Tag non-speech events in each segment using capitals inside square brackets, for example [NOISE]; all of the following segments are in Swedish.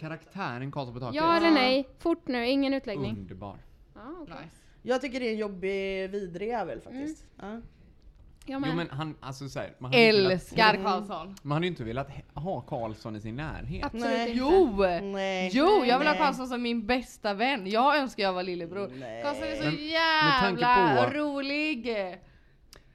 Karaktären Karlsson på taket. Ja eller nej? Fort nu, ingen utläggning. Underbar. Ja, okej. Jag tycker det är en jobbig, vidrig jävel faktiskt. Ja. Jag Jo med. men han, alltså såhär, man hade ju inte velat- Älskar Karlsson. man hade ju inte velat he- ha Karlsson i sin närhet. Absolut Nej. inte. Jo! Nej. Jo, jag vill ha Nej. Karlsson som min bästa vän. Jag önskar jag var lillebror. Nej. Karlsson är så Men- med tanke jävla på- rolig!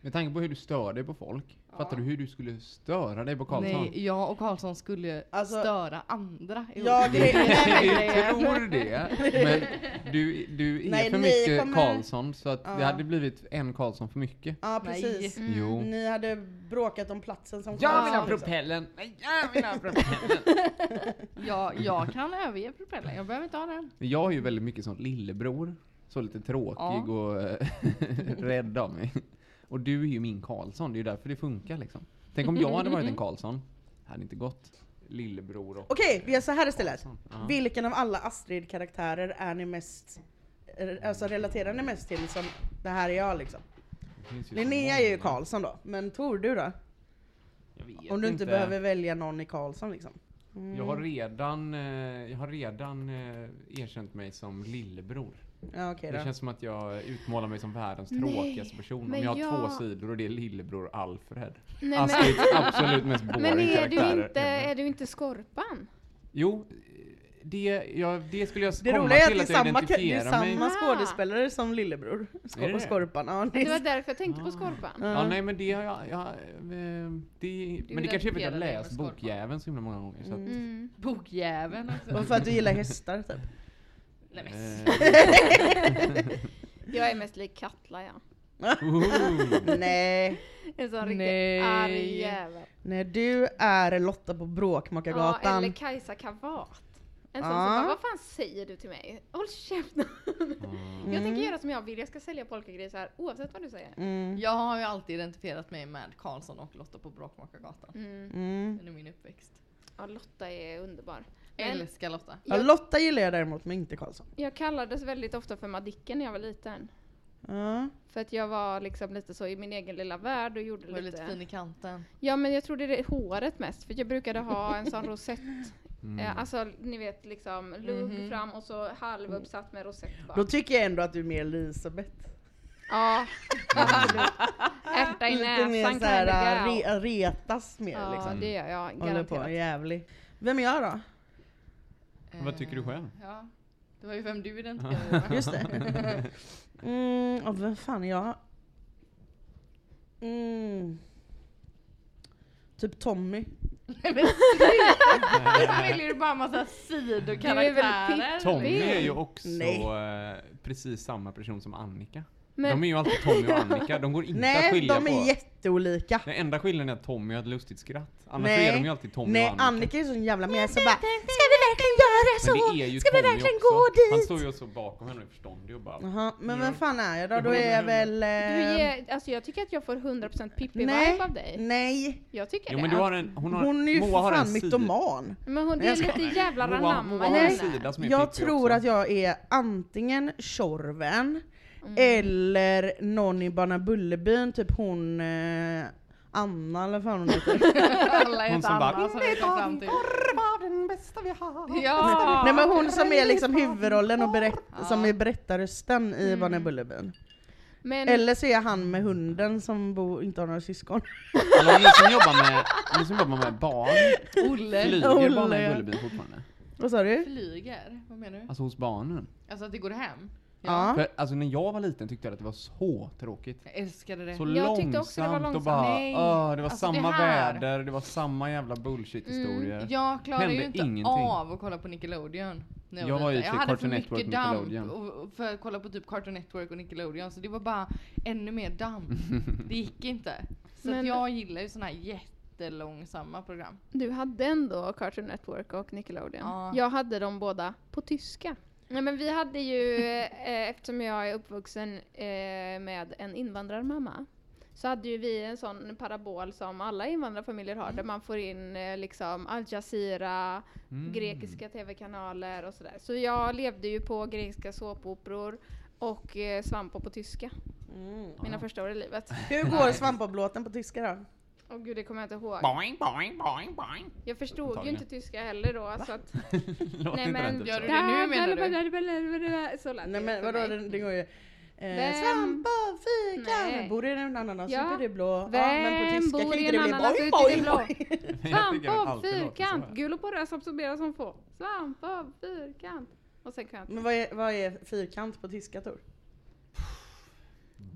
Med tanke på hur du stör dig på folk. Fattar du hur du skulle störa dig på Karlsson? Nej, jag och Karlsson skulle Alltså- störa andra. i Jag- olika- [LAUGHS] [LAUGHS] Nej, men Du grejen. tror det, men du, du är Nej, för ni mycket kommer- Karlsson så att det Ja. Mm, hade blivit en Karlsson för mycket. Ja Nej. precis. Jo. Ni hade bråkat om platsen som Jag vill ha Karlsson, liksom. propellen! Nej, jag vill ha propellen! Jag, jag kan överge propellen, jag behöver inte ha den. Jag är ju väldigt mycket som lillebror. Så lite tråkig Ja. och eh, [LAUGHS] rädd av mig. Och du är ju min Karlsson, det är ju därför det funkar liksom. Tänk om jag hade varit en Karlsson. Det hade inte gått. Lillebror och... Okej, vi gör så här istället. Ja. Vilken av alla Astrid-karaktärer är ni mest, er- alltså relaterar ni mest till som det här är jag liksom? Det finns ju så Linnea är ju många. Karlsson då, men Tor du då? Jag vet Om du inte behöver välja någon i Karlsson liksom. Jag har redan, eh, jag har redan eh, erkänt mig som lillebror. Ja okej Det då. känns som att jag utmålar mig som världens Nej, tråkigaste person. Om men jag har två jag- sidor och det är lillebror Alfred. Nej, Astrids men, absolut mest [LAUGHS] boring men är karaktär. du, inte, är du inte Skorpan? Jo, det, jag, det skulle jag Det komma roliga är att till det är att jag samma, det är identifierar mig. samma Ah. skådespelare som lillebror. Är det Skor- det? Skorpan. Ja, Det var nej. därför jag tänkte på Ah. Skorpan. Ja, nej men det har jag... jag eh, det, men det kanske är för att jag identifierar dig med läst Skorpan. Bokjäveln så himla många gånger. Så att, Mm. Bokjäveln också. Och för att du gillar hästar typ. Nej, men eh, Jag är mest lik Katla ja. oh. Nej. En sån Nej. riktigt arg jävel. När du är Lotta på Ja, Bråkmakargatan. eller Kajsa Kavat. En sån Ja. som bara, vad fan säger du till mig? Håll käften! jag tänker göra som jag vill, jag ska sälja polkagrisar oavsett vad du säger. mm. Jag har ju alltid identifierat mig med Karlsson och Lotta på Bråkmakargatan Mm. Mm. under min uppväxt. Ja, Lotta är underbar. Jag Men älskar Lotta. Ja, Jag- Lotta gillar jag däremot men inte Karlsson. jag kallades väldigt ofta för Madicken när jag var liten. Ja. För att jag var liksom lite så i min egen lilla värld och gjorde Du är lite lite... fin i kanten. Ja men jag trodde det är håret mest, för jag brukade ha en [LAUGHS] sån rosett, eh, mm. alltså ni vet liksom lugg Mhm. fram och så halvuppsatt med rosett bak. Då tycker jag ändå att du är mer Elisabeth. Ja, absolut. Ärta i Mm. Lite mer näsan såhär, kinda gal. re, äh, retas mer Ja liksom. det gör jag Håller på, garanterat. jävlig. Vem är jag då? Vad tycker du själv? Eh, Ja, det var ju vem [LAUGHS] du identifierade dig [LAUGHS] med. Just det. mm, och vem fan är jag? Mm. Typ Mm, Tommy. Nej, men sluta! Nu väljer du bara massa eh, Du är väl typ sidokaraktärer. Pippi? Tommy är ju också Nej. eh, precis samma person som Annika. Men De är ju alltid Tommy och Annika, de går inte att Nej, skilja de är på. jätteolika. Den enda skillnaden är att Tommy har ett lustigt skratt. Annars Nej. är de ju alltid Tommy Nej, och Annika. Annika är så jävla med så bara Ska vi verkligen göra så? Men det är ju Ska vi Tommy verkligen också. gå dit? Han står ju och så bakom henne och är förståndig och bara... Jaha, men vem Mm. fan är jag då? Då Jo, är jag men- väl... du eh, ger, alltså jag tycker att jag får 100% Nej. Pippi-vibe av dig. Nej, Jag tycker Jo men det. du har en... Hon, har, hon är ju Moa för har en fan sida- mytoman. Men hon, det Nej, är jag lite jävla Moa- Moa ranamma har i en Nej. henne. sida som är Jag Pippi tror också. att jag är antingen Tjorven Mm. eller någon i Barna Bullerbyn, typ hon eh, Anna eller vad fan hon heter. Alla är Hon ett som bara, annat som vi kom fram till. [LAUGHS] Ja! Nej men hon som är liksom huvudrollen och berätt, som är berättarrösten i Barna Bullerbyn. Mm. Men, Eller så är jag han med hunden som bo, inte har några syskon. [LAUGHS] Alltså, ni som jobbar med, ni som jobbar med barn Olle. flyger Olle, barnen i ja. Bullerbyn fortfarande? Vad sa du? Flyger? Vad menar du? Alltså hos barnen. Alltså att det går hem? Ja. För, alltså när jag var liten tyckte jag att det var så tråkigt. Jag älskade det. Så Jag långsamt, tyckte också det var och långsamt. bara, Nej. "Åh, det var Alltså, det samma här." väder, det var samma jävla bullshit-historier. Mm, jag klarade Hände ju inte ingenting. av att kolla på Nickelodeon. när Jag var ju liten. för jag hade för Cartoon Network, mycket damp Nickelodeon. och- och för att kolla på typ Cartoon Network och Nickelodeon så det var bara ännu mer [LAUGHS] damp. Det gick inte. Så att Men- jag gillar ju såna här jättelångsamma program. Du hade ändå Cartoon Network och Nickelodeon. Ja. Jag hade dem båda på tyska. Nej men vi hade ju, [LAUGHS] eh, eftersom jag är uppvuxen eh, med en invandrarmamma, så hade ju vi en sån parabol som alla invandrarfamiljer har, där man får in eh, liksom Al Jazeera, Mm. grekiska tv-kanaler och sådär. Så jag levde ju på grekiska såpoperor och eh, svampor på tyska, mina första år i livet. Hur går svampavblåten på tyska då? Åh gud, det kommer jag inte ihåg. Boing, boing, boing, boing. Jag förstod ju Antagligen. inte tyska heller då, så att [LAUGHS] Låter inte Nej den men typ gör så? du det nu, menar du? Så lät Nej det men för vadå, mig. den, den går ju... Eh, Vem- svamp och Nej. fika, bor i en ananas Ja. ja. super blå. Vem bor i en ananas boing, ute i det boing, blå? boing. [LAUGHS] Jag [LAUGHS] tycker den Svamp och alltid låter fyrkant, så gul och porös absorberar som få. Svamp och fyrkant. Och sen kan jag inte. Men vad är, vad är fyrkant på tyska Tor? här.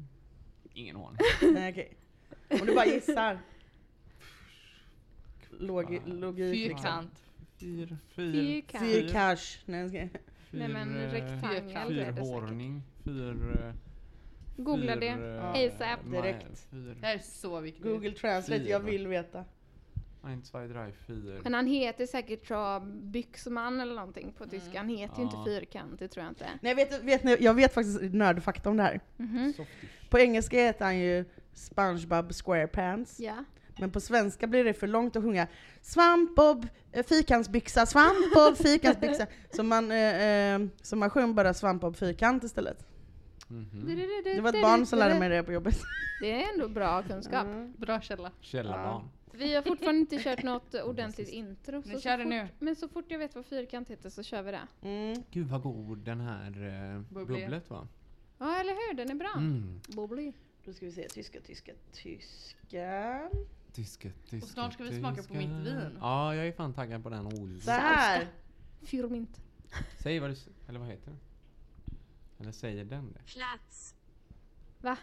Ingen aning. Nej okej. Om du bara gissar. Logi, logik. Fyrkant. Fyr, fyr, Fyrkant. Fyr cash. liksom. Nej, jag ska- fyr, Nej, men eh, rektangel fyr- blir det säkert. Fyrhårning, fyr... eh, Googla fyr, det. eh, ASAP. ma- Direkt. Fyr, Det här är så viktigt. Google translate, jag vill veta. nej inte Sverige Drive, fyr. Men han heter säkert tror jag, Byxman eller någonting på tyska. Han heter ju inte Mm. Ja. fyrkant, det tror jag inte. Nej vet, vet ni, jag vet faktiskt nördfakta om det här. Softish. På engelska heter han ju SpongeBob SquarePants. Ja. Men på svenska blir det för långt att sjunga Svampbob, eh, fikansbyxa, svampbob, fikansbyxa. Så man, eh, eh, så man sjöng bara svampbob fyrkant istället. Det var ett barn som lärde mig det på jobbet. Det är ändå bra kunskap. Bra källa. Källarbarn. Vi har fortfarande inte kört något ordentligt intro. Men så- kör så det fort- nu. Men så fort jag vet vad fyrkant heter så kör vi det. Mm. Gud vad god den här eh, Bubblig. bubblet var. Ja, eller hur? Den är bra. Mm. Bubbly. [LAUGHS] Då ska vi se, tyska, tyska, tyska. Tyska, tyska, Och snart ska vi smaka på tyska. mitt vin. Ja, jag är fan taggad på den. Oh. Så här. Fyrmint. Säg vad du... s- Eller vad heter den? Eller säger den det? Platz, Va?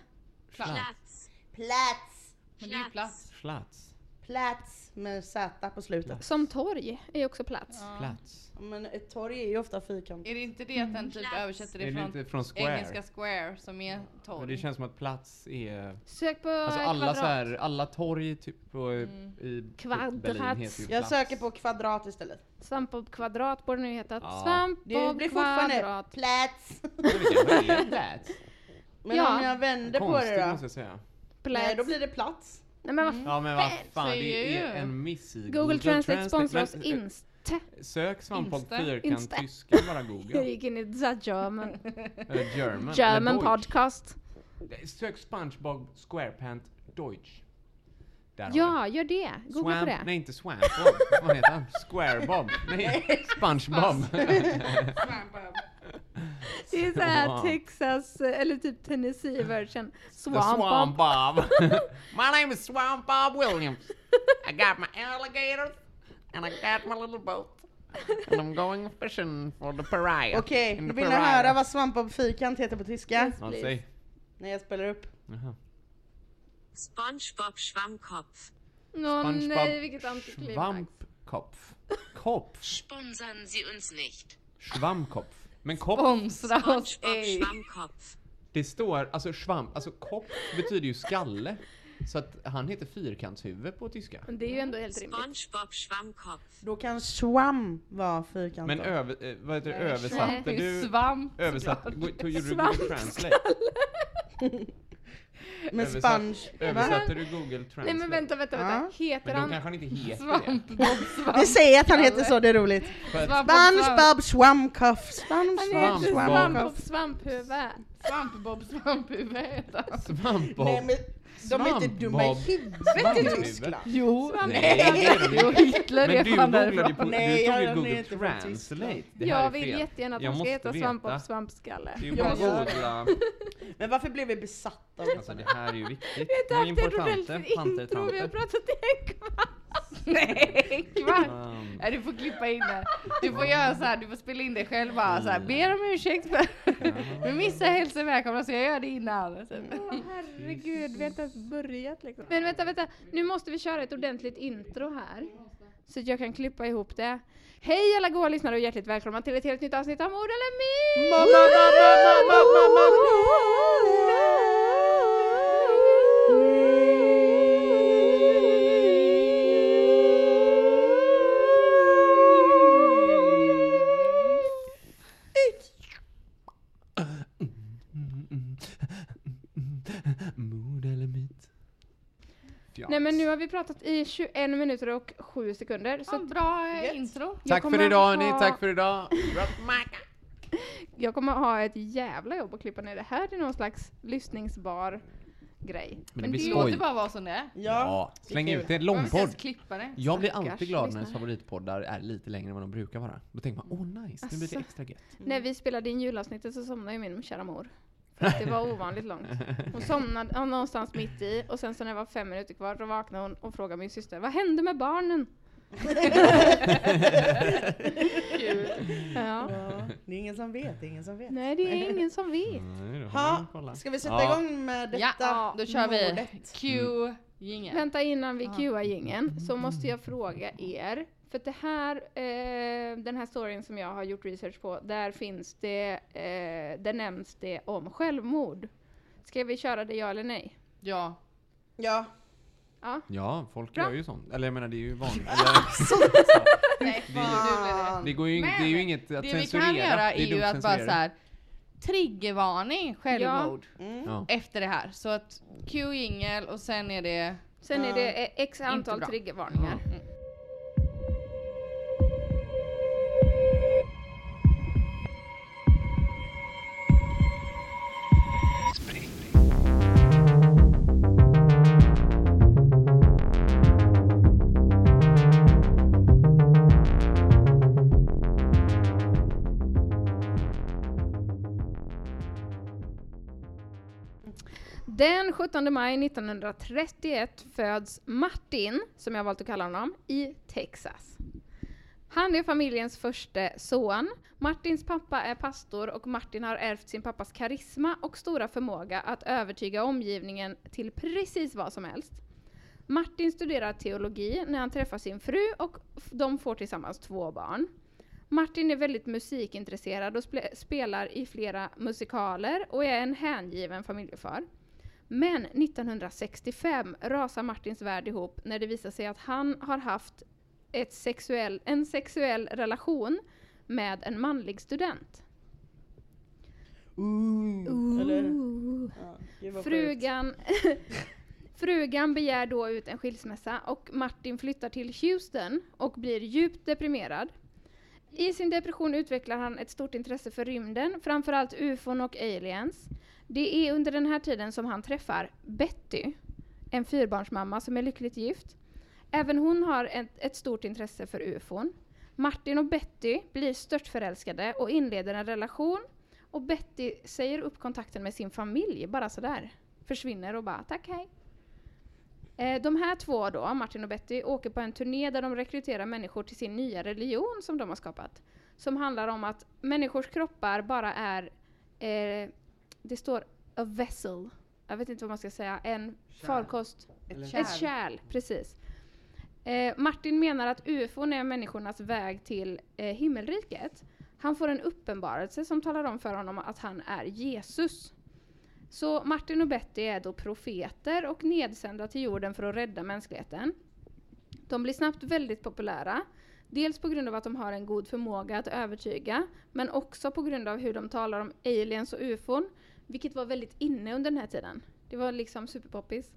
Schlats. Platz, Plats, Men det är ju plats. Schlats. plats med Z på slutet. Som torg är också plats. Plats. Men ett torg är ju ofta fyrkant. Är det inte det att den typ översätter Är det det från inte från Square? engelska square som är Men det torg? känns som att plats är... Sök på Alltså alla, kvadrat. så här, alla torg typ på, i Kvadrats. Berlin heter ju plats. Jag söker på kvadrat istället. Svamp på kvadrat borde det nu hetat. Ja. Svamp Det på blir fortfarande kvadrat. [LAUGHS] plats. Jag vet inte, vad är plats? Men Ja. om jag vänder på Konstigt det måste då? jag säga. Nej, Plats. då blir det plats. Nej men vad f- Ja men vad fan, det säger är ju. en miss i Google Translate sponsrar Men, oss [LAUGHS] inte. eh, Sök svampbob Insta. fyrkant Insta. tyska bara [LAUGHS] Jag google. gick in i the [LAUGHS] German, Eller German. German eller Deutsch. podcast. Sök Spongebob Squarepant Deutsch. Där har vi. Ja, gör det. Googla Swamp, på det. nej inte Swampbob, vad heter han? Squarebob? [LAUGHS] Nej, Spongebob! Det är [LAUGHS] såhär Swamp. Texas, eller typ Tennessee version. The Swamp Swamp. [LAUGHS] Bob. [LAUGHS] my name is Swamp Bob Williams. I got my alligators and I got my little boat. [LAUGHS] And I'm going fishing for the pariah. Okej, in the vill ni pariah. höra vad svampbob fyrkant heter på tyska? Yes. Ja, Please. säg. När jag spelar upp. Jaha. SpongeBob Schwammkopf. Åh nej, SpongeBob eh, vilket antiklimax. Svampkopf. Kopf. Sponsern Sie uns nicht. Svampkopf. Men kopf, Sponsra oss eh, SpongeBob ej! Schwammkopf. det står, alltså svamp, alltså kopf betyder ju skalle. Så att han heter fyrkantshuvud på tyska. Men Det är ju ändå helt rimligt. SpongeBob Schwammkopf. Då kan swam vara fyrkant. Men då. över, eh, vad heter det, Nej, översatte det är ju du? svamp Översatte, såklart. gjorde du Google Svamp. Translate? Med Översatt- sponge. Va? Översatte du Google Translate? Nej men vänta, vänta, vänta. Heter Men då han kanske han inte heter det. Svampbob, Vi svamp, säger att han heter så, det är roligt. För att Spongebob swamkoff. Han Spongebob heter Svamp. Svamp swamkoff. och Svamphuvud. svampbob, svamphuvud heter han. svampbob Nej men De är inte dumma i Svampbob. huvudet i Svamphuvud. Tyskland. Jo, Nej, det är det jo inte. Hitler Men är du fan googlade ju därifrån. på, du Nej, tog ju han är Google inte från Tyskland. Translate. Det här Jag är vill fel. jättegärna att Jag de ska måste heta veta. Svampbob Svampskalle. Det är ju bara att Jag gör det. googla. Men varför blev vi besatta av Alltså det det? här är ju viktigt. Vi har inte Hon är haft ett importante. ordentligt Tanter, intro, vi har tanter. pratat i en kvart. Nej, En kvart. Um, Nej, Äh, du får klippa in det. Du får göra så här, du får spela in det själv bara så här, ber om ursäkt för... Nu missade jag hälsa välkomna så jag gör det innan. Typ. herregud, vi har inte ens börjat liksom. Men vänta, vänta, nu måste vi köra ett ordentligt intro här. Så att jag kan klippa ihop det. Hej alla goa lyssnare och hjärtligt välkomna till ett helt nytt avsnitt av Mord eller Myt! [LAUGHS] Mord eller myt? Ja. Nej men nu har vi pratat i 21 minuter och 7 sekunder. Så Så att bra eh, intro. jag Tack för kommer idag ha- hörni, tack för idag. Jag kommer ha ett jävla jobb att klippa ner det här till någon slags lyssningsbar grej. Men det Men blir det skoj. låter bara vara som det är. Ja. Ja, släng ut det. Man vill inte ens Långpodd. klippa det. Jag blir Stackars alltid glad när ens lyssnare. favoritpoddar är lite längre än vad de brukar vara. Då tänker man, åh nice, nu blir det Asså. extra gött. När vi spelade in julavsnittet så somnade ju min kära mor. För att det var ovanligt långt. Hon somnade ja, någonstans mitt i och sen så när det var fem minuter kvar då vaknade hon och frågade min syster Vad hände med barnen? Ja. Det är ingen som vet, det är ingen som vet. Nej det är ingen som Mm. vet. Ha, ska vi sätta Ja. igång med detta? Ja, då kör vi. mordet? Q-jingeln. Vänta innan vi cuear gängen så måste jag fråga er. För att det här, eh, den här storyn som jag har gjort research på, där finns det, eh, där nämns det om självmord. Ska vi köra det ja eller nej? Ja. Ja. Ja. Ja, folk Bra. gör ju sånt. Eller jag menar, det är ju [LAUGHS] vanligt. Eller, Nej, Det är ju- fan, nu blev det. det, går ju, det är ju inget att Det vi censurera. kan göra är dumt ju att bara censurera. så här triggervarning, självmord. Ja. Efter det här. Så att Q jingel och sen är det... Sen är det eh, x antal bra. triggervarningar. Den 17 maj 1931 föds Martin, som jag valt att kalla honom, i Texas. Han är familjens första son. Martins pappa är pastor och Martin har ärvt sin pappas karisma och stora förmåga att övertyga omgivningen till precis vad som helst. Martin studerar teologi när han träffar sin fru och f- de får tillsammans två barn. Martin är väldigt musikintresserad och spe- spelar i flera musikaler och är en hängiven familjefar. Men 1965 rasar Martins värld ihop när det visar sig att han har haft ett sexuell, en sexuell relation med en manlig student. Ooh. Eller? Ja, gud vad sjukt. Frugan, [LAUGHS] frugan begär då ut en skilsmässa och Martin flyttar till Houston och blir djupt deprimerad. I sin depression utvecklar han ett stort intresse för rymden, framförallt ufon och aliens. Det är under den här tiden som han träffar Betty, en fyrbarnsmamma som är lyckligt gift. Även hon har ett, ett stort intresse för ufon. Martin och Betty blir störtförälskade och inleder en relation och Betty säger upp kontakten med sin familj, bara sådär. Försvinner och bara tack hej. Eh, De här två då, Martin och Betty, åker på en turné där de rekryterar människor till sin nya religion som de har skapat. Som handlar om att människors kroppar bara är, eh, det står a vessel. Jag vet inte vad man ska säga, en farkost. Ett Ett kärl, precis. Eh, Martin menar att ufon är människornas väg till eh, himmelriket. Han får en uppenbarelse som talar om för honom att han är Jesus. Så Martin och Betty är då profeter och nedsända till jorden för att rädda mänskligheten. De blir snabbt väldigt populära. Dels på grund av att de har en god förmåga att övertyga, men också på grund av hur de talar om aliens och ufon, vilket var väldigt inne under den här tiden. Det var liksom superpoppis.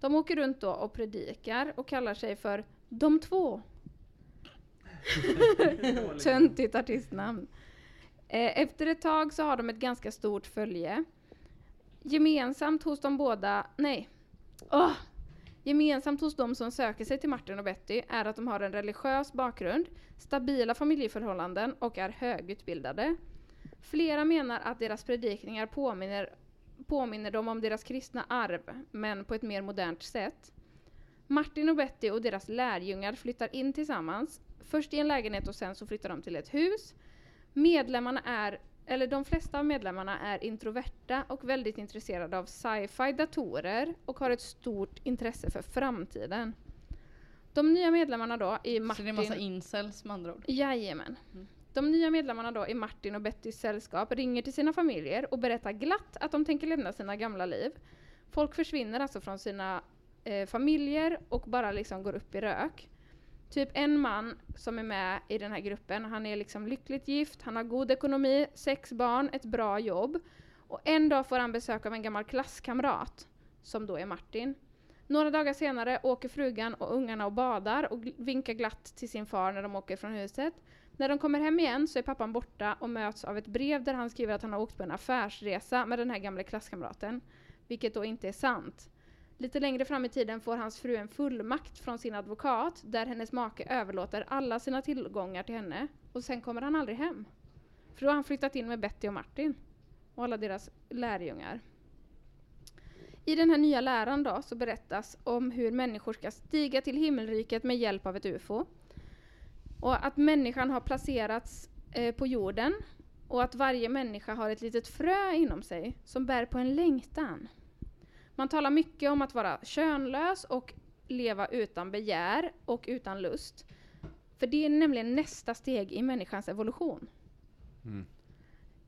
De åker runt då och predikar och kallar sig för De två. Töntigt artistnamn. Eh, Efter ett tag så har de ett ganska stort följe. Gemensamt hos de båda, nej, Åh! Gemensamt hos de som söker sig till Martin och Betty är att de har en religiös bakgrund, stabila familjeförhållanden och är högutbildade. Flera menar att deras predikningar påminner, påminner dem om deras kristna arv, men på ett mer modernt sätt. Martin och Betty och deras lärjungar flyttar in tillsammans. Först i en lägenhet och sen så flyttar de till ett hus. Medlemmarna är, eller de flesta av medlemmarna är introverta och väldigt intresserade av sci-fi datorer och har ett stort intresse för framtiden. De nya medlemmarna då i Så Martin... det är massa incels med andra ord. Jajamän. De nya medlemmarna då i Martin och Bettys sällskap ringer till sina familjer och berättar glatt att de tänker lämna sina gamla liv. Folk försvinner alltså från sina eh, familjer och bara liksom går upp i rök. Typ en man som är med i den här gruppen, han är liksom lyckligt gift, han har god ekonomi, sex barn, ett bra jobb. Och en dag får han besök av en gammal klasskamrat, som då är Martin. Några dagar senare åker frugan och ungarna och badar och gl- vinkar glatt till sin far när de åker från huset. När de kommer hem igen så är pappan borta och möts av ett brev där han skriver att han har åkt på en affärsresa med den här gamla klasskamraten. Vilket då inte är sant. Lite längre fram i tiden får hans fru en fullmakt från sin advokat där hennes make överlåter alla sina tillgångar till henne och sen kommer han aldrig hem. För då har han flyttat in med Betty och Martin och alla deras lärjungar. I den här nya läran då så berättas om hur människor ska stiga till himmelriket med hjälp av ett UFO. Och att människan har placerats eh, på jorden och att varje människa har ett litet frö inom sig som bär på en längtan. Man talar mycket om att vara könlös och leva utan begär och utan lust. För det är nämligen nästa steg i människans evolution. Mm.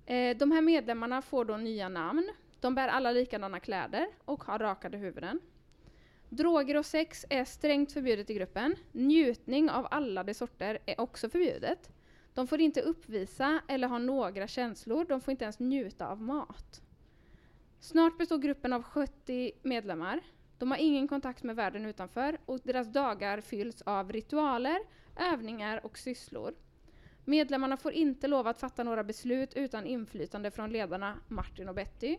Eh, de här medlemmarna får då nya namn. De bär alla likadana kläder och har rakade huvuden. Droger och sex är strängt förbjudet i gruppen. Njutning av alla de sorter är också förbjudet. De får inte uppvisa eller ha några känslor. De får inte ens njuta av mat. Snart består gruppen av 70 medlemmar. De har ingen kontakt med världen utanför och deras dagar fylls av ritualer, övningar och sysslor. Medlemmarna får inte lov att fatta några beslut utan inflytande från ledarna Martin och Betty.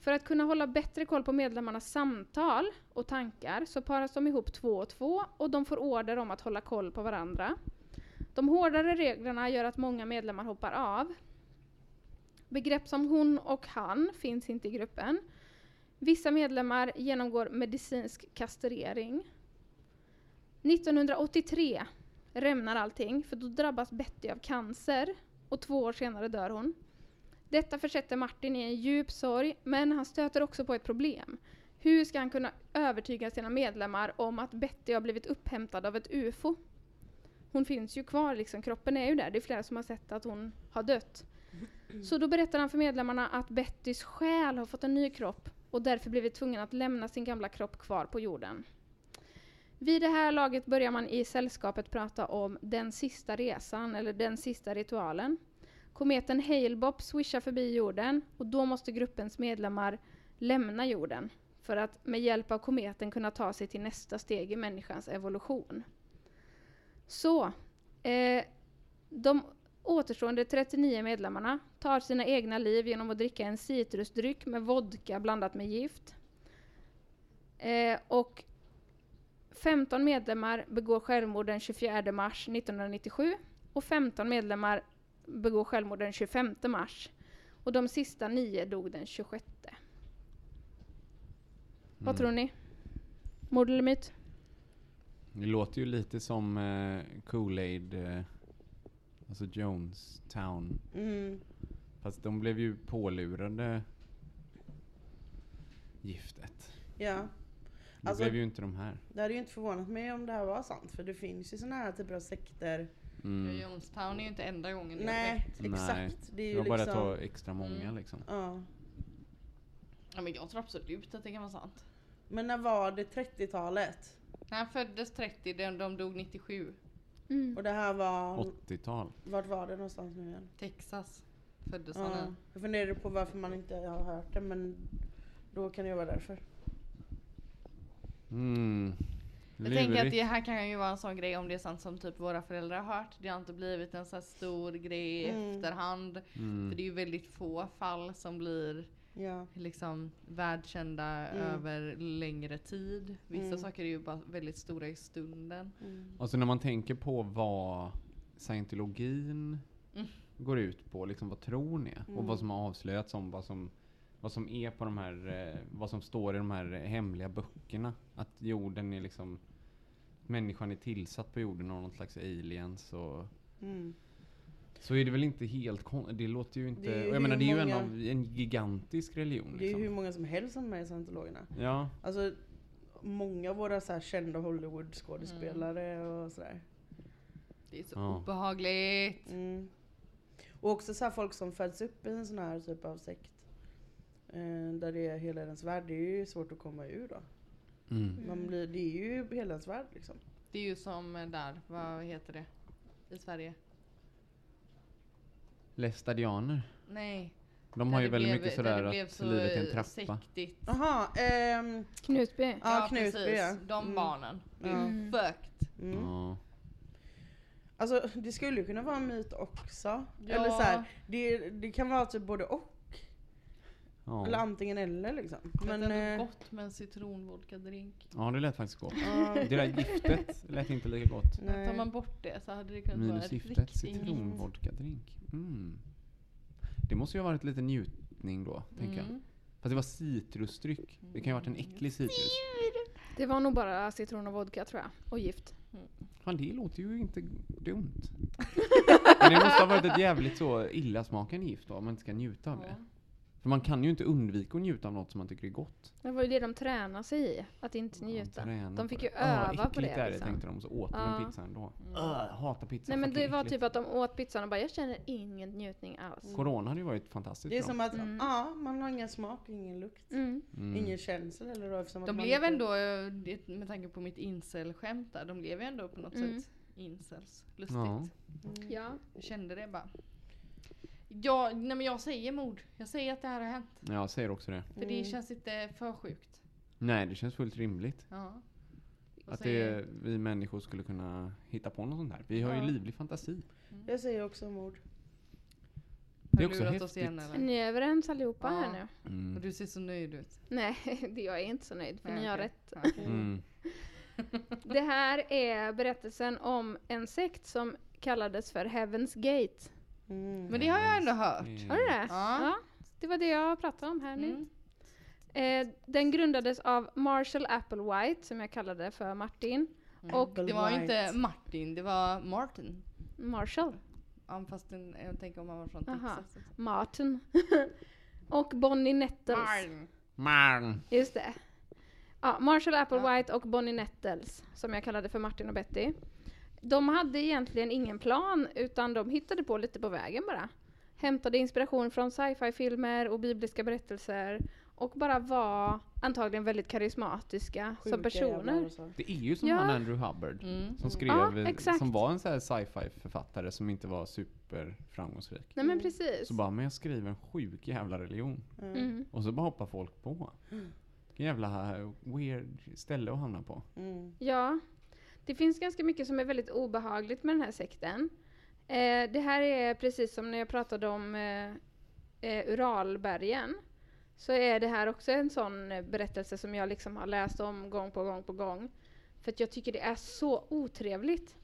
För att kunna hålla bättre koll på medlemmarnas samtal och tankar så paras de ihop två och två och de får order om att hålla koll på varandra. De hårdare reglerna gör att många medlemmar hoppar av. Begrepp som hon och han finns inte i gruppen. Vissa medlemmar genomgår medicinsk kastrering. 1983 rämnar allting för då drabbas Betty av cancer och två år senare dör hon. Detta försätter Martin i en djup sorg men han stöter också på ett problem. Hur ska han kunna övertyga sina medlemmar om att Betty har blivit upphämtad av ett UFO? Hon finns ju kvar liksom, kroppen är ju där. Det är flera som har sett att hon har dött. Så då berättar han för medlemmarna att Bettys själ har fått en ny kropp och därför blivit tvungen att lämna sin gamla kropp kvar på jorden. Vid det här laget börjar man i sällskapet prata om den sista resan eller den sista ritualen. Kometen Hale-Bopp swishar förbi jorden och då måste gruppens medlemmar lämna jorden för att med hjälp av kometen kunna ta sig till nästa steg i människans evolution. Så, eh, de återstående 39 medlemmarna tar sina egna liv genom att dricka en citrusdryck med vodka blandat med gift. Eh, och 15 medlemmar begår självmord den 24 mars 1997 och 15 medlemmar begår självmord den 25 mars. Och de sista nio dog den 26. Vad tror ni? Mord eller myt? Det låter ju lite som eh, Kool-Aid, eh, alltså Jonestown. Mm. Fast de blev ju pålurade giftet. Ja. Det Alltså- blev ju inte de här. Det hade ju inte förvånat mig om det här var sant, för det finns ju såna här typer av sekter. Mm. Jonestown är ju inte enda gången det har Nej, skett. Nej. exakt. Det är Det ju var bara att liksom... ta extra många Mm. liksom. Ja. Ja, men jag tror absolut att det kan vara sant. Men när var det 30-talet? Han föddes 30, de, de dog 97. Och det här var... 80-tal. Vart var det någonstans nu igen? Texas föddes han Ja. i. Jag funderade på varför man inte har hört det, men då kan det ju vara därför. Mm. Jag tänker att Lurigt. det här kan ju vara en sån grej om det är sant som typ våra föräldrar har hört. Det har inte blivit en sån här stor grej i Mm. efterhand. För Mm. det är ju väldigt få fall som blir Ja. liksom världskända Mm. över längre tid. Vissa Mm. saker är ju bara väldigt stora i stunden. Alltså när man tänker på vad scientologin Mm. går ut på, liksom vad tron är och Mm. vad som har avslöjats om vad som, vad som är på de här, eh, vad som står i de här hemliga böckerna. Att jorden är liksom, människan är tillsatt på jorden av någon slags aliens och Mm. så är det väl inte helt kon- det låter ju inte, Det är ju och jag menar det är ju en, hur av, en gigantisk religion Det är ju hur liksom. många som helst som är med i scientologerna. Ja, Alltså, många av våra så här kända Hollywood-skådespelare och sådär. Det är så Ja. obehagligt. Mm. Och också så här folk som föds upp i en sån här typ av sekt. Eh, där det är helens värld, det är ju svårt att komma ur då. mm. Man blir, det är ju helens värld liksom. Det är ju som eh, där, vad heter det? I Sverige? lästadianer. Nej. De där har ju det väldigt blev- mycket där sådär det blev att livet är en eh, trappa. Mm. Sektigt. Jaha, ehm, Knutby. ja, Knutby ja. De Mm. barnen. Det är ju Ja. fucked. Mm. Ja. Alltså det skulle ju kunna vara en myt också. Ja. Eller så här, det, det kan vara typ både och. Ja. Eller antingen eller liksom. Men, Men, det är eh, ändå gott med en citronvodka-drink. ja, det lät faktiskt gott. ja, Det där giftet [LAUGHS] lät inte lika gott. nej. Tar man bort det så hade det kunnat vara Minus ett giftet, riktigt... citronvodkadrink. Mm. Det måste ju ha varit lite njutning då, tänker jag. Mm. Fast det var citrusdryck. Det kan ju ha varit en äcklig citrus. Det var nog bara citron och vodka tror jag. Och gift. Fan, det låter ju inte dumt. [LAUGHS] Men det måste ha varit ett jävligt så illasmakande gift då, om man inte ska njuta av det. För man kan ju inte undvika att njuta av något som man tycker är gott. Det var ju det de tränade sig i. Att inte njuta. Man tränar De fick ju på det. Ah, öva på äckligt är det. det, Liksom. tänkte de, så åt de Ja. Mm. en pizza ändå. Öh, hatar pizza. Nej men fucking det var äckligt. typ att de åt pizzan och bara jag känner ingen njutning alls. Corona hade ju varit fantastiskt Det är bra. som att, Mm. ja man har ingen smak, ingen lukt, Mm. Mm. ingen känsla eller då eftersom att De man blev inte- ändå, eh, det- med tanke på mitt incel-skämt där, de blev ju ändå på något Mm. sätt incels. Lustigt. Ja. Ja. Jag kände det bara. Ja, nej men jag säger mord. Jag säger att det här har hänt. Ja, jag säger också det. För det Mm. känns inte för sjukt. Nej, det känns fullt rimligt. Ja. Jag Att säger- det, vi människor skulle kunna hitta på något sånt här. Vi har ju Ja. livlig fantasi. Jag säger också mord. har det är också lurat häftigt. Är Mm. ni överens allihopa här Ja. nu? Mm. Och du ser så nöjd ut. Nej, [LAUGHS] det- jag är inte så nöjd för Nej, ni har okej. rätt. Ja, okej. Mm. Det här är berättelsen om en sekt som kallades för Heaven's Gate. Mm. Men det har jag ändå hört. Mm. Har du det? Ja. Det var det jag pratade om här nu. Mm. Eh, den grundades av Marshall Applewhite, som jag kallade för Martin. Och Det var ju inte Martin, det var Martin. Marshall. Ja, fast den, jag tänker om han var från Aha. Texas. Martin. [LAUGHS] och Bonnie Nettles. Martin. Marn. Just det. Ja, Marshall Applewhite och Bonnie Nettles, som jag kallade för Martin och Betty. De hade egentligen ingen plan, utan de hittade på lite på vägen bara. Hämtade inspiration från sci-fi-filmer och bibliska berättelser och bara var antagligen väldigt karismatiska som personer. Det är ju som Ja. Mm. han Andrew Hubbard. Som skrev, Ja, eh, exakt. som var en så här sci-fi författare som inte var super framgångsrik. Nej men precis. Så bara, men jag skriver en sjuk jävla religion. Mm. Och så bara hoppar folk på. Vilken jävla eh, weird ställe att hamna på. Mm. Ja. Det finns ganska mycket som är väldigt obehagligt med den här sekten. Eh, det här är precis som när jag pratade om eh, eh, Uralbergen. Så är det här också en sån eh, berättelse som jag liksom har läst om gång på gång på gång. För att jag tycker det är så otrevligt.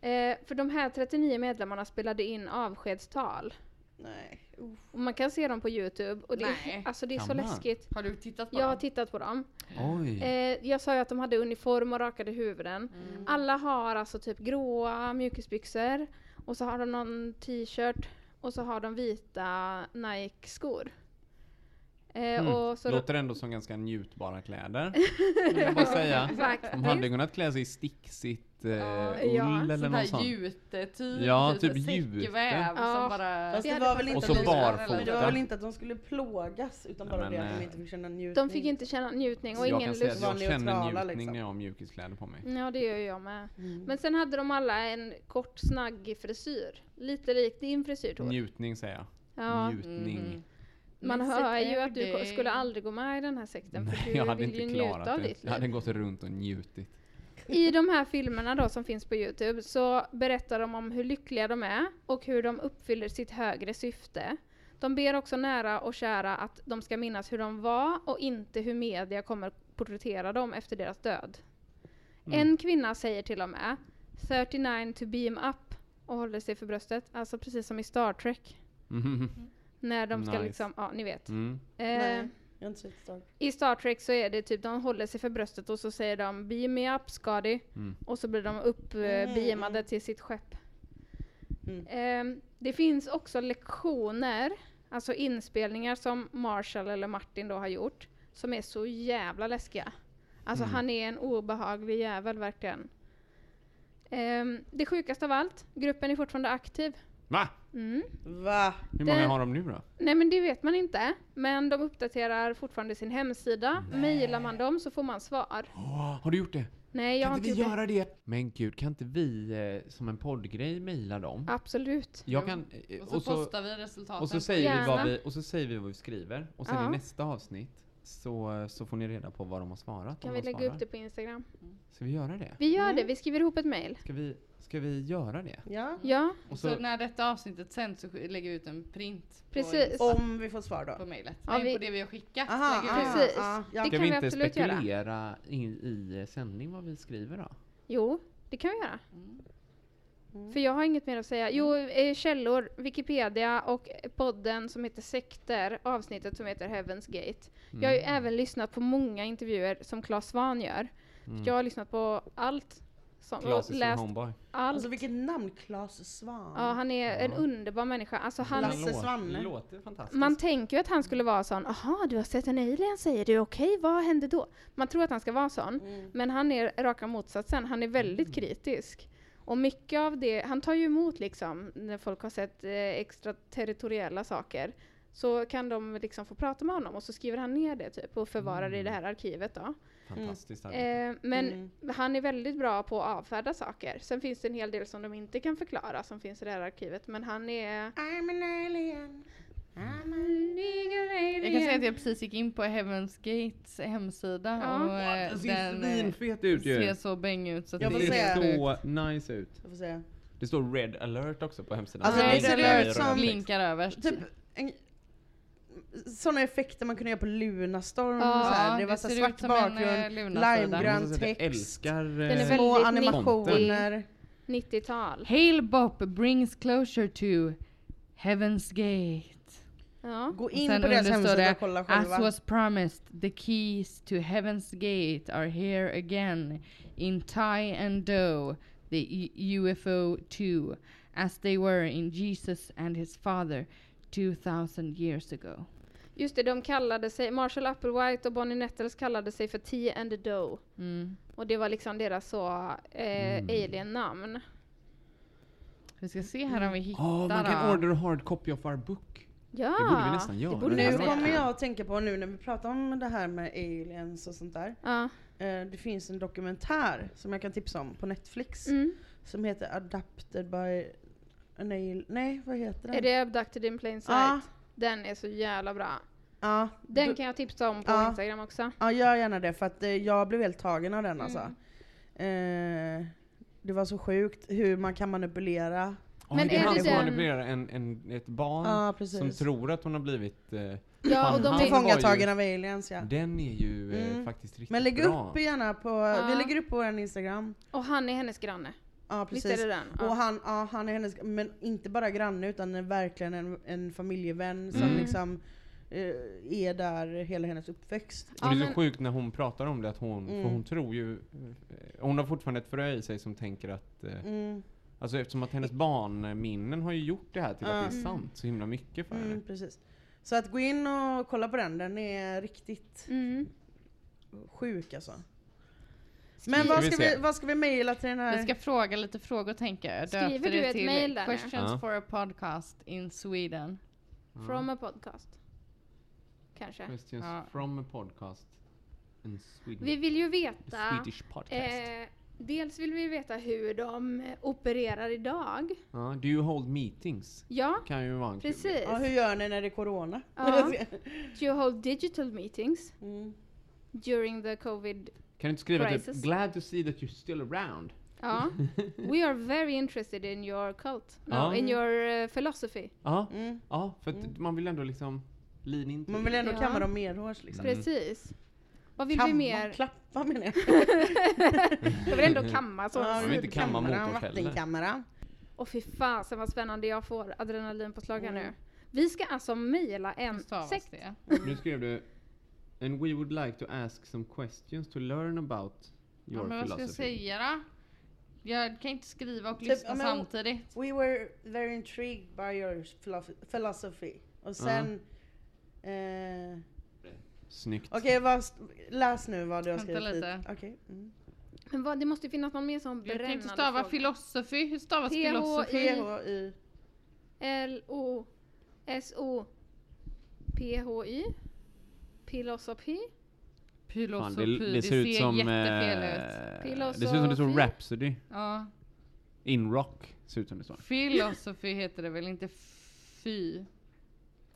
Eh, för de här 39 medlemmarna spelade in avskedstal. Nej. uff. Och man kan se dem på Youtube. Och det, Nej. är, alltså det är Kan så man? läskigt. Har du tittat på Jag har dem? tittat på dem. Oj. Eh, jag sa ju att de hade uniform och rakade huvuden. Alla har alltså typ gråa mjukisbyxor och så har de någon t-shirt och så har de vita Nike-skor. Eh, Mm. och så Låter ändå som ganska njutbara kläder. [LAUGHS] Kan jag bara säga. Faktiskt. De hade kunnat klä sig i sticksigt eh, ull ja, eller Sån där något sånt. jute-typ. Ja, typ en jute. säckväv Ja. som bara... Fast det hade var faktiskt- väl inte Och att så de skulle- barfota. men det var väl inte att de skulle plågas utan Nej, bara men, det att de eh, inte fick känna njutning. de fick inte känna njutning och jag ingen kan säga att lust. var jag känner neutrala, njutning liksom. när jag har mjukiskläder på mig. Ja, det gör jag med. Mm. Men sen hade de alla en kort snaggig frisyr. Lite lik din frisyr Tor. Njutning säger jag. Ja, Njutning. mm. man Men hör sitt ju att du ko- everyday. skulle aldrig gå med i den här sekten för Nej, du jag hade vill ju inte njuta klarat av det. ditt Jag liv. hade gått runt och njutit. I de här filmerna då som finns på Youtube så berättar de om hur lyckliga de är och hur de uppfyller sitt högre syfte. De ber också nära och kära att de ska minnas hur de var och inte hur media kommer porträttera dem efter deras död. Mm. En kvinna säger till och med 39 to beam up och håller sig för bröstet. Alltså precis som i Star Trek. Mm. När de ska Nice. liksom, ja ni vet. Mm. Eh, Nej, jag har inte sett Star Trek. I Star Trek så är det typ, de håller sig för bröstet och så säger de beam me up Scotty. Mm. Och så blir de uppbeamade till sitt skepp. Mm. Ehm, det finns också lektioner, alltså inspelningar som Marshall eller Martin då har gjort. Som är så jävla läskiga. Alltså han är en obehaglig jävel verkligen. Ehm, det sjukaste av allt, gruppen är fortfarande aktiv. Va? Mm. Va? Hur många Det- har de nu då? Nej men det vet man inte. Men de uppdaterar fortfarande sin hemsida. Mailar man dem så får man svar. Åh, har du gjort det? Nej jag kan har inte inte vi gjort det. göra det? Men gud, kan inte vi eh, som en poddgrej mejla dem? Absolut. Jag Jo. kan... eh, Och så, postar vi resultaten. och så säger vi vad Gärna. vi, och så säger vi vad vi skriver. Och sen Ja. i nästa avsnitt så, så får ni reda på vad Mm. de har svarat. Kan om vi de lägga svarar. upp det på Instagram? Ska vi göra det? Vi gör det, vi skriver ihop ett mail. Ska vi, ska vi göra det? Ja. Ja, Och så, så, när detta avsnittet sänds så sk- lägger vi ut en print Precis. på, Om vi får svar då. på mejlet. Ja, Nej, vi- på det vi har skickat. Aha, lägger vi ut. precis. ja, ja. Det ska kan vi vi inte absolut göra. spekulera i, i sändning vad vi skriver då? Jo, det kan vi göra. Mm. För jag har inget mer att säga. Jo, eh, källor, Wikipedia och podden som heter Sekter, avsnittet som heter Heaven's Gate. Jag har ju Mm. även lyssnat på många intervjuer som Claes Svahn gör. Jag har lyssnat på allt. Som, Mm. Claes och is my läst homeboy. allt. Alltså vilket namn, Claes Svahn. ja, han är en underbar människa. Alltså, han, Lasse Det låter- Svanne. Det låter fantastiskt. Man tänker ju att han skulle vara sån, aha du har sett en alien säger du, okej vad hände då? Man tror att han ska vara sån, men han är raka motsatsen, han är väldigt kritisk. Och mycket av det, han tar ju emot liksom, när folk har sett eh, extraterritoriella saker, så kan de liksom få prata med honom och så skriver han ner det typ och förvarar det i det här arkivet då. Fantastiskt arbete. Eh, men han är väldigt bra på att avfärda saker. Sen finns det en hel del som de inte kan förklara som finns i det här arkivet, men han är... I'm an alien. I'm a... Jag kan säga att jag precis gick in på Heaven's Gates hemsida Ja. och eh, Den ser den eh, svinfet ut ser ju! så bäng ut så att Jag får Det det säga- är helt sjukt. ser så nice ut. Jag får säga. Det står red alert också på hemsidan. Alltså, Nej, det ser det ut är- som- blinkar överst. Typ en... Sådana effekter man kunde göra på Lunastorm. Ja, så här. Det det var så här ser svart ut som en, eh, bakgrund, Lunastorm. Jag limegrön måste säga att jag text, älskar... Den är eh, väl- små väldigt animationer. 90-tal. Hail Bop brings closure to Heaven's Gate. Ja. Gå Och in sen på deras under står hemsida det, och kolla As själva. was promised, the keys to Heaven's Gate are here again in Thai and Do, the U- UFO 2, as they were in Jesus and his father 2000 years ago. Just det, de kallade sig, Marshall Applewhite och Bonnie Nettles kallade sig för T and the Doe. Mm. Och det var liksom deras så eh, alien-namn. Vi ska se här Mm. om vi hittar. Ja, man kan då. order a hard copy of our book. Ja! Det borde vi nästan göra. Ah, borde vi Det Nu här göra. var- kommer jag att tänka på, nu när vi pratar om det här med aliens och sånt där. Ja. Eh, Det finns en dokumentär som jag kan tipsa om på Netflix. Mm. Som heter Adapted by an Alien... Nej, vad heter den? Är det Abducted in plain sight? Ja. Den är så jävla bra. Ja, Den du- kan jag tipsa om på Ja. Instagram också. ja, gör gärna det för att eh, jag blev helt tagen av den alltså. Mm. Eh, det var så sjukt hur man kan manipulera. Ja, Men det är är det han som den- manipulerar en, en, ett barn Ja, precis. som tror att hon har blivit... Eh, Ja, fan, och de han var är, ju- Tillfångatagen av aliens ja. Den är ju eh, Mm. faktiskt riktigt Men lägg bra. upp gärna på, vi lägger upp på vår Instagram. och han är hennes granne. Ja Visst precis. är det den? Ja. Och han, ja, han är hennes, men inte bara granne utan är verkligen en, en familjevän Mm. som liksom eh, är där hela hennes uppväxt. Och det är Ja, så men- sjukt när hon pratar om det att hon, för hon tror ju... eh, Hon har fortfarande ett frö i sig som tänker att... Eh, Mm, Alltså eftersom att hennes barnminnen har ju gjort det här till att det är sant så himla mycket för henne. mm, precis. Så att gå in och kolla på den, den är riktigt Mm. sjuk alltså. Men Ska vad vi ska, se. vi, vad ska vi mejla till den här? Vi ska fråga lite frågor tänker jag. Skriver Döpte du det ett till mail där nu? Questions Ja. for a podcast in Sweden. Mm. From a podcast. Kanske. Questions Ja. from a podcast. In Sweden. Vi vill The ju veta... Swedish podcast. Eh, dels vill vi veta hur de eh, opererar idag. Ja, do you hold meetings? Ja, Kan ju vara en kul grej. precis. Ja, hur gör ni när det är corona? Ja. Do you hold digital meetings Mm. during the covid? Kan du inte skriva Crisis. typ “Glad to see that you're still around”? Ja. We are very interested in your cult. No, Ja. in your eh, philosophy. Ja, Mm. ja för att man vill ändå liksom lean in till [LAUGHS] Man vill ändå Ja. kamma dem medhårs liksom. Mm. Precis. Vad vill kamma, vi mer? klappa menar jag. Jag vill ändå kamma så. Ja, Man vill inte kamma kammaren, mot oss heller. Vattenkammaren. Och fy fasen vad spännande jag får adrenalinpåslag här Mm. nu. Vi ska alltså mejla en Hur stavas sekt. det? Nu skrev du And we would like to ask some questions to learn about Ja, your men vad ska jag philosophy. säga då? Jag kan inte skriva och Typ, lyssna ja, men- samtidigt. We were very intrigued by your philo- philosophy. Och sen... Eh, Snyggt. Okej, vad, läs nu vad du har Vänta skrivit. hit. lite. Okej. Mm. Men vad, det måste ju finnas någon mer sån Jag brännande kan inte stava fråga. philosophy. Hur stavas TH philosophy? P-H-Y. L-O-S-O-P-H-Y. Philosophy. Fan, Philosophy. det, det ser ut som... eh, jättefel ut. Det ser ut som det står Philosophy. Rhapsody. Ja. In Rock ser ut som det står. Philosophy heter det väl, inte fy?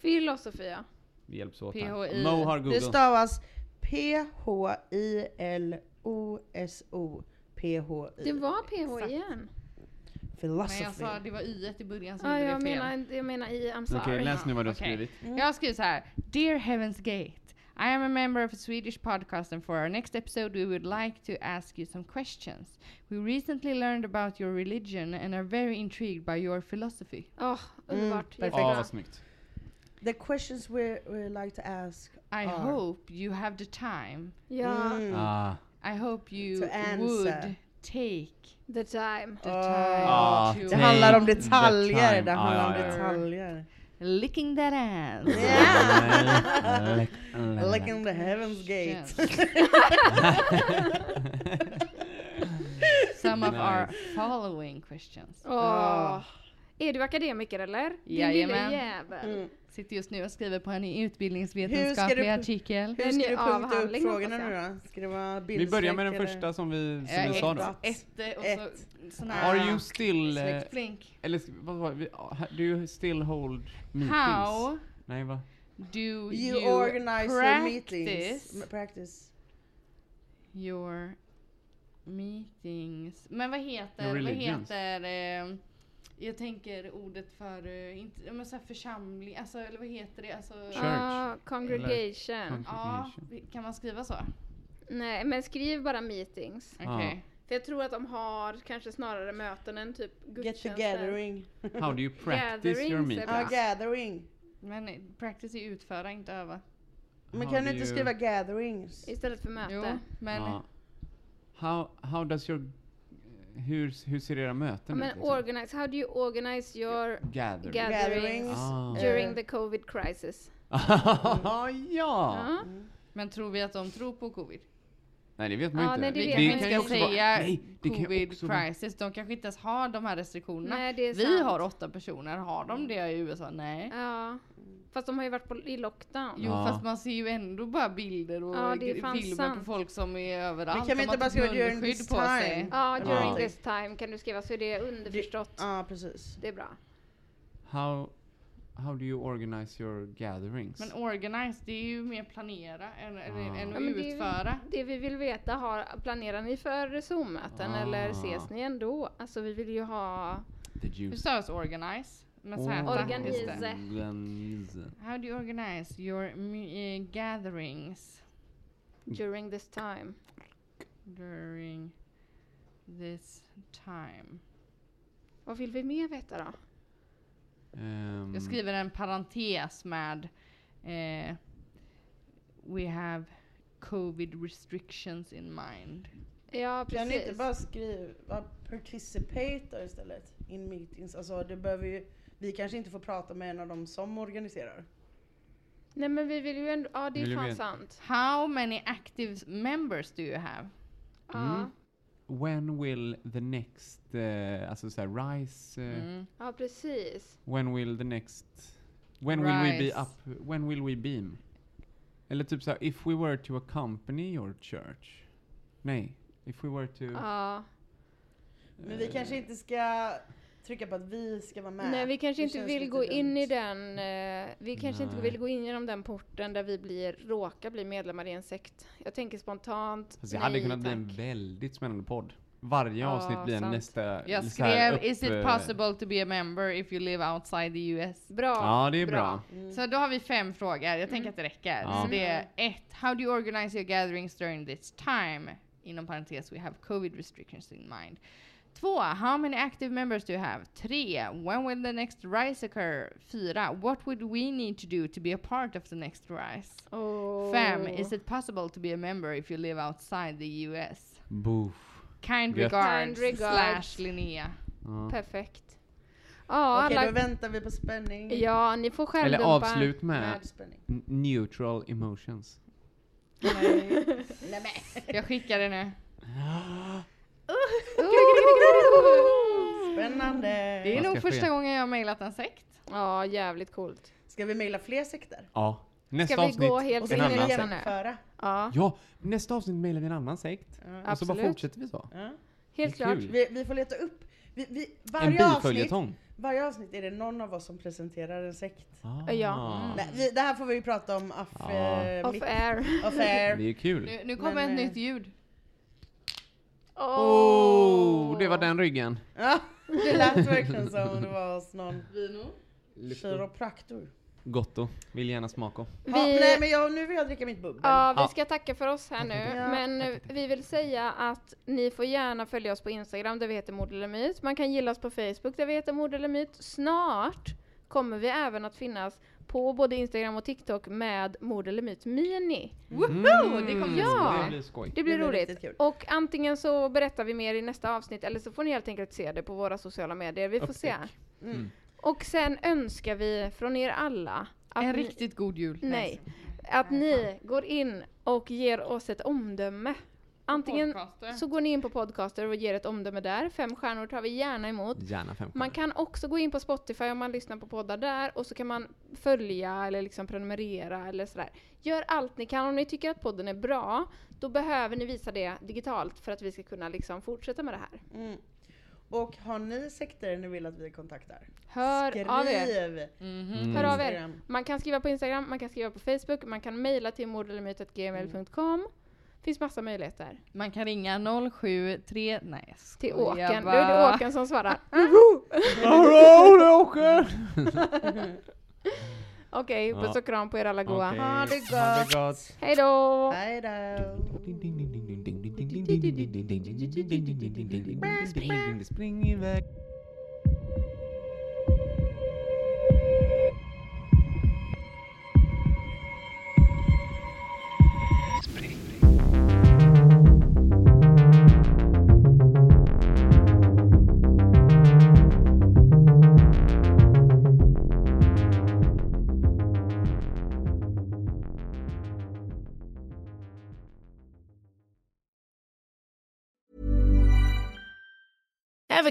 Philosophy ja. Vi hjälps åt PHI. här. Mo har Det Google. stavas P-H-I-L-O-S-O-P-H-Y. Det var PH igen. Men jag Philosophy. sa det var y i början som Ja, gjorde jag, det fel. menar, jag menar i I'm sorry. Okej, läs nu vad du har Okej. skrivit. Jag skriver så här. Dear Heaven's Gate. I am a member of a Swedish podcast and for our next episode we would like to ask you some questions. We recently learned about your religion and are very intrigued by your philosophy. Åh, Mm, underbart. perfekt. Ja, Jättebra. vad Ah, snyggt. The questions we we like to ask I are hope you have the time. Ja, Mm. Ah, I hope you To answer. would take the time. the Ah. time Ah, to Det handlar om Take the detaljer. time. Det Ja, handlar om ja, ja. detaljer. licking that ass. [LAUGHS] Like in the heavens gate. [LAUGHS] Some of our Nice. following questions. Oh. Åh. Är du akademiker eller? Din lilla Jajamän. Mm. jävel. Sitter just nu och skriver på en Hur utbildningsvetenskaplig ska du- artikel. Hur En ska ny du punkta upp avhandling, frågorna hoppas nu då? Ska det vara Vi bildstreck börjar med den eller? första som vi, som Eh, vi sa ett, då. ett, och Ett. så sån här... Are you still... eh, Ah, Snyggt, flink. Eller sk- vad var vi- ah, ha- Do you still hold meetings? How Nej va? do You, you, organize your meetings. practice Practice. your meetings? Men vad heter, Your vad religions. heter... Eh, jag tänker ordet för... Eh, inte, ja, men så här församling, alltså, eller vad heter det? Alltså, Church. Ah, congregation. Con- ja, kan man skriva så? Nej, men skriv bara meetings. Okej. Ja. För jag tror att de har kanske snarare möten än typ Get gudstjänster. togethering. Ah. How [LAUGHS] do you practice your Gatherings är meetings? bra. Ja, gathering. Men eh, practice är utföra, inte öva. Men How kan do du inte you- skriva gatherings? Istället för möte. Jo, men... Ja. How, how does your... Hur, hur ser era Ja, möten men liksom? organize, how do you organize your Gather. ga- Gatherings. Ah. Eh. during the covid crisis? [LAUGHS] ja! Ja. Mm. Men tror vi att de tror på covid? Nej det vet man Ja, inte. nej, det vet kan man ju inte. ska också vara- säga Nej, det kan ju covid också vara- crisis. De kanske inte ens har de här restriktionerna. Nej, det är Vi sant. Mm. har åtta personer. Har de det i USA? Nej. Ja. Fast de har ju varit på, i lockdown. Jo Ja. fast man ser ju ändå bara bilder och Ja, det är gr- fan filmer sant. på folk som är överallt. Men kan vi De inte har bara typ skriva during munskydd this på sig. time? Ja, during Ja. this time kan du skriva så är det underförstått. Ah. Ja, Ah, precis. Det är bra. How, how do you organize your gatherings? Men organize, det är ju mer planera än, än, Ja. än Ja, att men det är- utföra. Det vi vill veta, har, planerar ni för Zoom-möten Ah. eller ses ni ändå? Alltså vi vill ju ha... The Hur juice. stavas organize? Med Z. Organise. just det. Organise. How do you organize your me- eh, gatherings During this time. during this time? Vad vill vi mer veta då? Ehm, Jag skriver en parentes med eh, We have covid restrictions in mind. Ja, Kan ni inte precis. bara skriva participator istället? In meetings. Alltså, det behöver ju... Vi kanske inte får prata med en av dem som organiserar. Nej men vi vill ju ändå... Ja, det Vill är du fan veta? sant. How many active members do you have? Mm. Ja, When will the next, eh, alltså såhär rise, eh, Mm. ja precis. when will the next, when will we be Rise. up, when will we beam? Eller typ såhär, if we were to accompany your church. Nej, if we were to... Ja. Men Mm. vi kanske inte ska trycka på att vi ska vara med. Nej, vi kanske Det inte känns vill lite gå in dumt. i den... Eh, vi kanske inte Nej. vill gå in genom den porten där vi blir, råkar bli medlemmar i en sekt. Jag tänker spontant, Fast det hade nej kunnat bli en tack. väldigt spännande podd. varje Ja, avsnitt blir en sant. nästa... Jag så här skrev upp, Is it eh, possible to be a member if you live outside the US? Bra. Ja, det är bra. Så då har vi fem frågor. Jag tänker att det räcker. Ja. Så det är ett. How do you organize your gatherings during this time? Inom parentes, we have covid restrictions in mind. Två. How many active members do you have? Tre. When will the next rise occur? Fyra. What would we need to do to be a part of the next rise? Åh. Fem. Is it possible to be a member if you live outside the US? Boof. Kind Gött. regards, Kind regards. slash Linnea. Ja. Perfekt. Ja, Okej, då alla... väntar vi på spänning. Ja, ni får själva Eller avslut med Med spänning. n- neutral emotions. [GASPS] Jag skickar det nu. Spännande. Mm. Det är Vad nog ska ske? första gången jag har mejlat en sekt. Ja, jävligt coolt. Ska vi mejla fler sekter? Ja. Nästa Ska vi avsnitt. gå helt Och så en in i annan det sekt. nu? genomföra. Ja, Ja, nästa avsnitt mejlar vi en annan sekt. Och så bara Absolut. fortsätter vi så. Ja. helt det är klart. kul. Vi, vi får leta upp. Vi, vi, En varje, avsnitt, biföljetong. varje avsnitt är det någon av oss som presenterar en sekt. Ah. Ja. Nej, vi, det här får vi ju prata om off, Ja. eh, Off mitt- air. off [LAUGHS] air. Det är kul. Nu, nu kommer Men, ett eh, nytt ljud. Oh, det var den ryggen. Ja, det lät verkligen som om det var hos någon kiropraktor. Gotto. Vill gärna smaka. Vi, Ja, nej men jag, nu vill jag dricka mitt bubbel. ja, vi Ja. ska tacka för oss här nu. Ja. Men eh, vi vill säga att ni får gärna följa oss på Instagram där vi heter Mord eller Myt. Man kan gilla oss på Facebook där vi heter Mord eller Myt. Snart kommer vi även att finnas på både Instagram och TikTok med Mord eller Myt Mini. Mm. Woho! Det kommer Ja. Det blir skoj. Det blir Det blir roligt. riktigt kul. Och antingen så berättar vi mer i nästa avsnitt eller så får ni helt enkelt se det på våra sociala medier. Vi får se. Och sen önskar vi från er alla att En ni- riktigt god jul. Nej. Att ni går in och ger oss ett omdöme. Antingen Podcaster. så går ni in på podcaster och ger ett omdöme där. Fem stjärnor tar vi gärna emot. Gärna fem Man stjärnor. kan också gå in på Spotify om man lyssnar på poddar där och så kan man följa eller liksom prenumerera eller sådär. Gör allt ni kan. Om ni tycker att podden är bra, då behöver ni visa det digitalt för att vi ska kunna liksom fortsätta med det här. Mm. Och har ni sekter ni vill att vi kontaktar? Hör Skriv! Mm. av er! Hör av er! Instagram. Man kan skriva på Instagram, man kan skriva på Facebook, man kan mejla till mordellermytetgmail.com. Finns massa möjligheter. Man kan ringa 073... Nej, jag Till skojar Åken. Då är bara. det Åken som svarar. Hallå, det åker! Okej, Ja. puss och kram på er alla goa. Okej. Ha det Ha gott! det gott! Hej då! Hej då! Spring iväg Ever